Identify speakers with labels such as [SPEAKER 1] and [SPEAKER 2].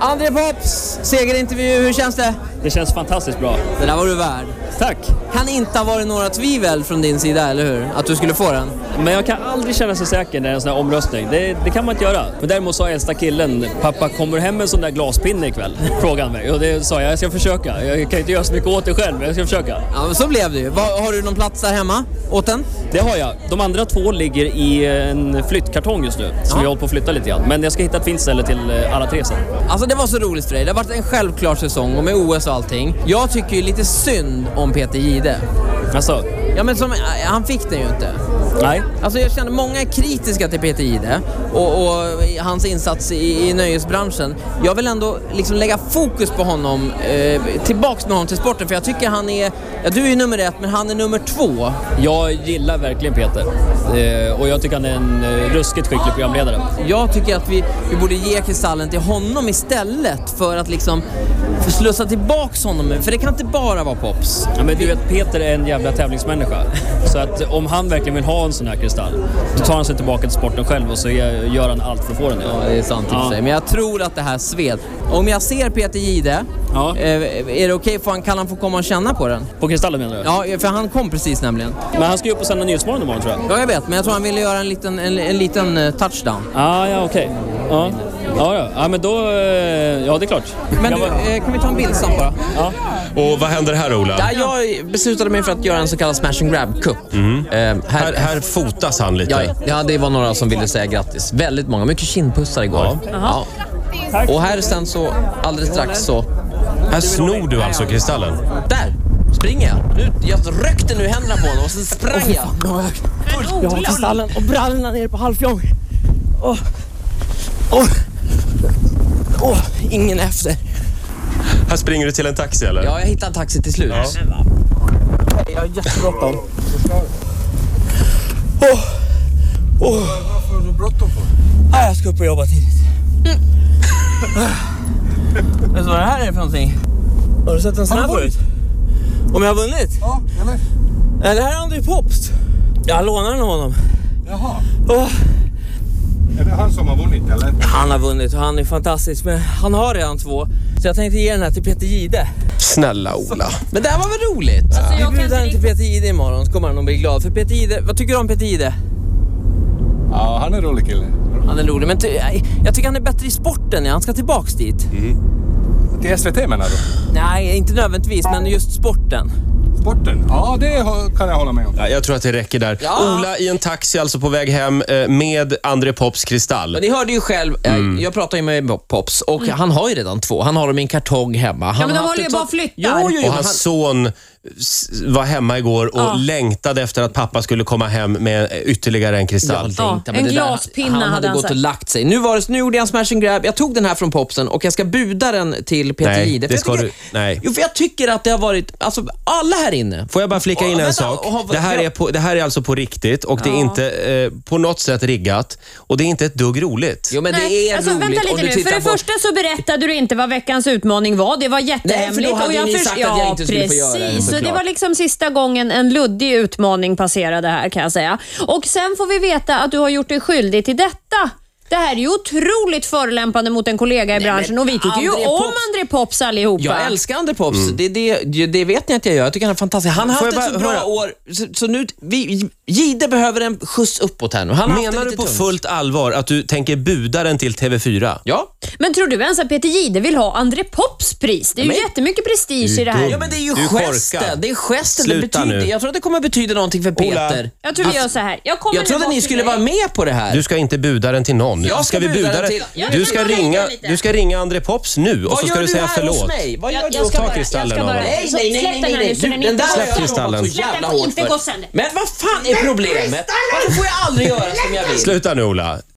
[SPEAKER 1] André Pops, segerintervju, hur känns det?
[SPEAKER 2] Det känns fantastiskt bra.
[SPEAKER 1] Det där var du värd.
[SPEAKER 2] Tack!
[SPEAKER 1] Kan inte ha varit några tvivel från din sida, eller hur? Att du skulle få den.
[SPEAKER 2] Men jag kan aldrig känna sig säker när det är en sån här omröstning. Det, det kan man inte göra. Men däremot sa äldsta killen, pappa kommer du hem med en sån där glaspinne ikväll? Frågade han mig. Och det sa jag, jag ska försöka. Jag kan inte göra så mycket åt det själv, men jag ska försöka.
[SPEAKER 1] Ja, men så blev det ju. Va- Har du någon plats där hemma åt den?
[SPEAKER 2] Det har jag. De andra två ligger i en flyttkartong just nu, som vi håller på att flytta lite grann. Men jag ska hitta ett fint ställe till eh, alla tre sen.
[SPEAKER 1] Alltså det var så roligt för dig. Det har varit en självklar säsong och med OS och allting. Jag tycker ju lite synd om Peter Gide.
[SPEAKER 2] Alltså,
[SPEAKER 1] Ja men som, han fick den ju inte.
[SPEAKER 2] nej.
[SPEAKER 1] Alltså jag känner många är kritiska till Peter Gide och, och hans insats i, i nöjesbranschen. Jag vill ändå liksom lägga fokus på honom, eh, tillbaks med honom till sporten för jag tycker han är, ja du är ju nummer ett men han är nummer två.
[SPEAKER 2] Jag gillar verkligen Peter. Eh, Och jag tycker han är en eh, ruskigt skicklig programledare.
[SPEAKER 1] Jag tycker att vi, vi borde ge Kristallen till honom istället för att liksom slussa tillbaks honom. För det kan inte bara vara Pops.
[SPEAKER 2] Ja, men du vet, Peter är en jävla tävlingsmänniska. Så att om han verkligen vill ha en sån här kristall, då tar han sig tillbaka till sporten själv och så ge- gör han allt för att få den.
[SPEAKER 1] Ja, det är sant i och för
[SPEAKER 2] Ja.
[SPEAKER 1] sig. Men jag tror att det här sved. Om jag ser Peter Gide,
[SPEAKER 2] Ja.
[SPEAKER 1] eh, är det okej? Får han- Kan han få komma och känna på den?
[SPEAKER 2] På kristallen menar du?
[SPEAKER 1] Ja, för han kom precis nämligen.
[SPEAKER 2] Men han ska ju upp och sända Nyhetsmorgon imorgon tror jag.
[SPEAKER 1] Ja, jag vet. Men jag tror han ville göra en liten, en, en liten eh, touchdown.
[SPEAKER 2] Ah, ja, okej. Ja. Ja, ja. ja, men då... eh, Ja, det är klart.
[SPEAKER 1] Men
[SPEAKER 2] Jag
[SPEAKER 1] du,
[SPEAKER 2] var-
[SPEAKER 1] eh, kan vi ta en bild sen bara?
[SPEAKER 2] ja.
[SPEAKER 3] Och vad händer här Ola?
[SPEAKER 1] Ja, jag beslutade mig för att göra en så kallad smash and grab cup. Eh,
[SPEAKER 3] Mm. Här, här fotas han lite.
[SPEAKER 1] Ja, ja, det var några som ville säga grattis. Väldigt många. Mycket kindpussar igår. Ja. Och här sen så, alldeles strax så...
[SPEAKER 3] Här snor du alltså kristallen.
[SPEAKER 1] Där! Springer jag. Nu, jag ryckte nu händerna på honom och sen sprang jag.
[SPEAKER 4] Jag har kristallen och brallorna nere på halvfjång. Åh, åh, åh, ingen efter.
[SPEAKER 3] Här springer du till en taxi eller?
[SPEAKER 1] Ja, jag hittade en taxi till slut.
[SPEAKER 4] Jag har jättebråttom. Åh, åh.
[SPEAKER 5] Varför har du bråttom för? Mm.
[SPEAKER 4] Ah, jag ska upp och jobba tidigt.
[SPEAKER 1] Vet du vad det här är för någonting?
[SPEAKER 4] Har du sett en sån här
[SPEAKER 5] Har du
[SPEAKER 4] förut? Om jag har vunnit?
[SPEAKER 5] Ja, eller?
[SPEAKER 4] Nej, det här är André Pops. Jag lånar den av honom.
[SPEAKER 5] Jaha.
[SPEAKER 4] Åh,
[SPEAKER 5] Är det han som har vunnit eller?
[SPEAKER 4] Han har vunnit och han är fantastisk, men han har redan två. Så jag tänkte ge den här till Peter Gide.
[SPEAKER 3] Snälla Ola.
[SPEAKER 1] Men det här var väl roligt?
[SPEAKER 6] jag
[SPEAKER 4] Vi
[SPEAKER 6] kan
[SPEAKER 4] bjuder
[SPEAKER 6] inte
[SPEAKER 4] den till Peter Gide imorgon så kommer han nog bli glad. För Peter Gide, vad tycker du om Peter Gide?
[SPEAKER 5] Ja, han är en rolig kille.
[SPEAKER 1] Han är rolig, men ty, nej, jag tycker han är bättre i sporten. Ja. Han ska tillbaks dit.
[SPEAKER 5] Till SVT menar du?
[SPEAKER 1] Nej, inte nödvändigtvis, men just sporten.
[SPEAKER 5] Sporten? Ja, det hå- kan jag hålla med om.
[SPEAKER 3] Ja, jag tror att det räcker där.
[SPEAKER 1] Ja.
[SPEAKER 3] Ola i en taxi alltså på väg hem eh, med André Pops kristall.
[SPEAKER 1] Men ni hörde ju själv, eh,
[SPEAKER 3] Mm.
[SPEAKER 1] jag pratade ju med Pops och han har ju redan två. Han har dem i en kartong hemma. Han
[SPEAKER 6] men de
[SPEAKER 1] har haft
[SPEAKER 6] håller ju
[SPEAKER 1] ett
[SPEAKER 6] bara
[SPEAKER 1] sånt-
[SPEAKER 6] och flyttar.
[SPEAKER 1] Jo, jo, jo,
[SPEAKER 3] Och
[SPEAKER 1] men
[SPEAKER 3] hans son s- var hemma igår och längtade efter att pappa skulle komma hem med eh, ytterligare en kristall.
[SPEAKER 1] Jag
[SPEAKER 6] Ja,
[SPEAKER 1] tänkte,
[SPEAKER 6] en
[SPEAKER 1] men det där-
[SPEAKER 6] glaspinne
[SPEAKER 1] han hade,
[SPEAKER 6] hade han
[SPEAKER 1] gått
[SPEAKER 6] sagt.
[SPEAKER 1] och lagt sig. Nu, var det, nu gjorde jag en smash and grab. Jag tog den här från popsen och jag ska buda den till Peter
[SPEAKER 3] Nej,
[SPEAKER 1] Jihde, för
[SPEAKER 3] det
[SPEAKER 1] jag
[SPEAKER 3] ska
[SPEAKER 1] tycker-
[SPEAKER 3] du- nej.
[SPEAKER 1] Jo, för jag tycker att det har varit... Alltså, alla här inne.
[SPEAKER 3] Får jag bara flika in
[SPEAKER 1] Åh,
[SPEAKER 3] en
[SPEAKER 1] vänta,
[SPEAKER 3] sak?
[SPEAKER 1] och har-
[SPEAKER 3] det, här är på, det här är alltså på riktigt och det är inte eh, på något sätt riggat och det är inte ett dugg roligt.
[SPEAKER 1] Jo, men
[SPEAKER 6] Nej,
[SPEAKER 1] det är
[SPEAKER 6] alltså,
[SPEAKER 1] roligt
[SPEAKER 6] vänta
[SPEAKER 1] om
[SPEAKER 6] lite
[SPEAKER 1] du
[SPEAKER 6] nu.
[SPEAKER 1] tittar
[SPEAKER 6] För det
[SPEAKER 1] på...
[SPEAKER 6] första så berättade du inte vad veckans utmaning var. Det var jättehemligt.
[SPEAKER 1] Nej, för då hade
[SPEAKER 6] och
[SPEAKER 1] ni
[SPEAKER 6] förs-
[SPEAKER 1] sagt att jag
[SPEAKER 6] ja,
[SPEAKER 1] inte skulle få göra det,
[SPEAKER 6] precis. Så det
[SPEAKER 1] såklart.
[SPEAKER 6] var liksom sista gången en luddig utmaning passerade här kan jag säga. Och sen får vi veta att du har gjort dig skyldig till detta. Det här är ju otroligt förolämpande mot en kollega i branschen och vi tycker ju
[SPEAKER 1] André
[SPEAKER 6] om
[SPEAKER 1] Pops-
[SPEAKER 6] André Pops allihopa.
[SPEAKER 1] Jag älskar Ander Pops. Det, det, det vet ni att jag gör. Jag tycker han är fantastisk. Han har
[SPEAKER 3] Får
[SPEAKER 1] haft ett
[SPEAKER 3] jag
[SPEAKER 1] så
[SPEAKER 3] bara
[SPEAKER 1] bra
[SPEAKER 3] höra?
[SPEAKER 1] år. Så, så nu, vi, Jihde behöver en skjuts uppåt här nu. Han har haft
[SPEAKER 3] Menar
[SPEAKER 1] det
[SPEAKER 3] du
[SPEAKER 1] lite
[SPEAKER 3] på
[SPEAKER 1] tungt.
[SPEAKER 3] fullt allvar att du tänker buda den till TV4?
[SPEAKER 1] Ja.
[SPEAKER 6] Men tror du ens att Peter Jihde vill ha André Pops pris? Det är ju
[SPEAKER 1] Men-
[SPEAKER 6] jättemycket prestige i det
[SPEAKER 3] dum.
[SPEAKER 6] här.
[SPEAKER 1] Ja, men det är ju
[SPEAKER 3] Du är
[SPEAKER 1] gesten.
[SPEAKER 3] korkad.
[SPEAKER 1] Det är gesten. Det
[SPEAKER 3] Sluta
[SPEAKER 1] betyder,
[SPEAKER 3] nu.
[SPEAKER 1] jag tror att det kommer betyda någonting för
[SPEAKER 3] Ola.
[SPEAKER 1] Peter.
[SPEAKER 6] Jag tror vi gör så här. Jag, kommer
[SPEAKER 1] Jag
[SPEAKER 6] nu
[SPEAKER 1] trodde
[SPEAKER 6] bort
[SPEAKER 1] ni
[SPEAKER 6] till
[SPEAKER 1] skulle
[SPEAKER 6] dig.
[SPEAKER 1] vara med på det här.
[SPEAKER 3] Du ska inte buda den till någon.
[SPEAKER 1] Jag ska
[SPEAKER 3] vi
[SPEAKER 1] buda den till- Ja,
[SPEAKER 6] men
[SPEAKER 3] Du
[SPEAKER 6] man
[SPEAKER 3] ska,
[SPEAKER 6] kan
[SPEAKER 3] ringa,
[SPEAKER 6] tänka lite.
[SPEAKER 3] du ska ringa André Pops nu och
[SPEAKER 1] Vad
[SPEAKER 3] så ska
[SPEAKER 1] gör
[SPEAKER 3] du säga
[SPEAKER 1] här hos
[SPEAKER 3] förlåt.
[SPEAKER 1] mig? Vad gör
[SPEAKER 6] Jag,
[SPEAKER 1] du?
[SPEAKER 6] jag ska
[SPEAKER 3] Ta
[SPEAKER 6] bara, jag ska
[SPEAKER 3] kristallen av
[SPEAKER 6] bara...
[SPEAKER 3] honom.
[SPEAKER 1] Nej, nej, nej, nej,
[SPEAKER 6] Släpp den här
[SPEAKER 1] nej.
[SPEAKER 6] nu så
[SPEAKER 1] Du,
[SPEAKER 6] den
[SPEAKER 1] den
[SPEAKER 6] inte
[SPEAKER 1] där har
[SPEAKER 3] Släpp
[SPEAKER 1] jag
[SPEAKER 3] kristallen.
[SPEAKER 1] jobbat så
[SPEAKER 6] Släpp den,
[SPEAKER 1] jävla
[SPEAKER 6] får
[SPEAKER 1] hårt
[SPEAKER 6] inte
[SPEAKER 1] för.
[SPEAKER 6] gå sönder.
[SPEAKER 1] Men vad fan är problemet? Varför får jag aldrig göra som jag vill?
[SPEAKER 3] Sluta nu Ola.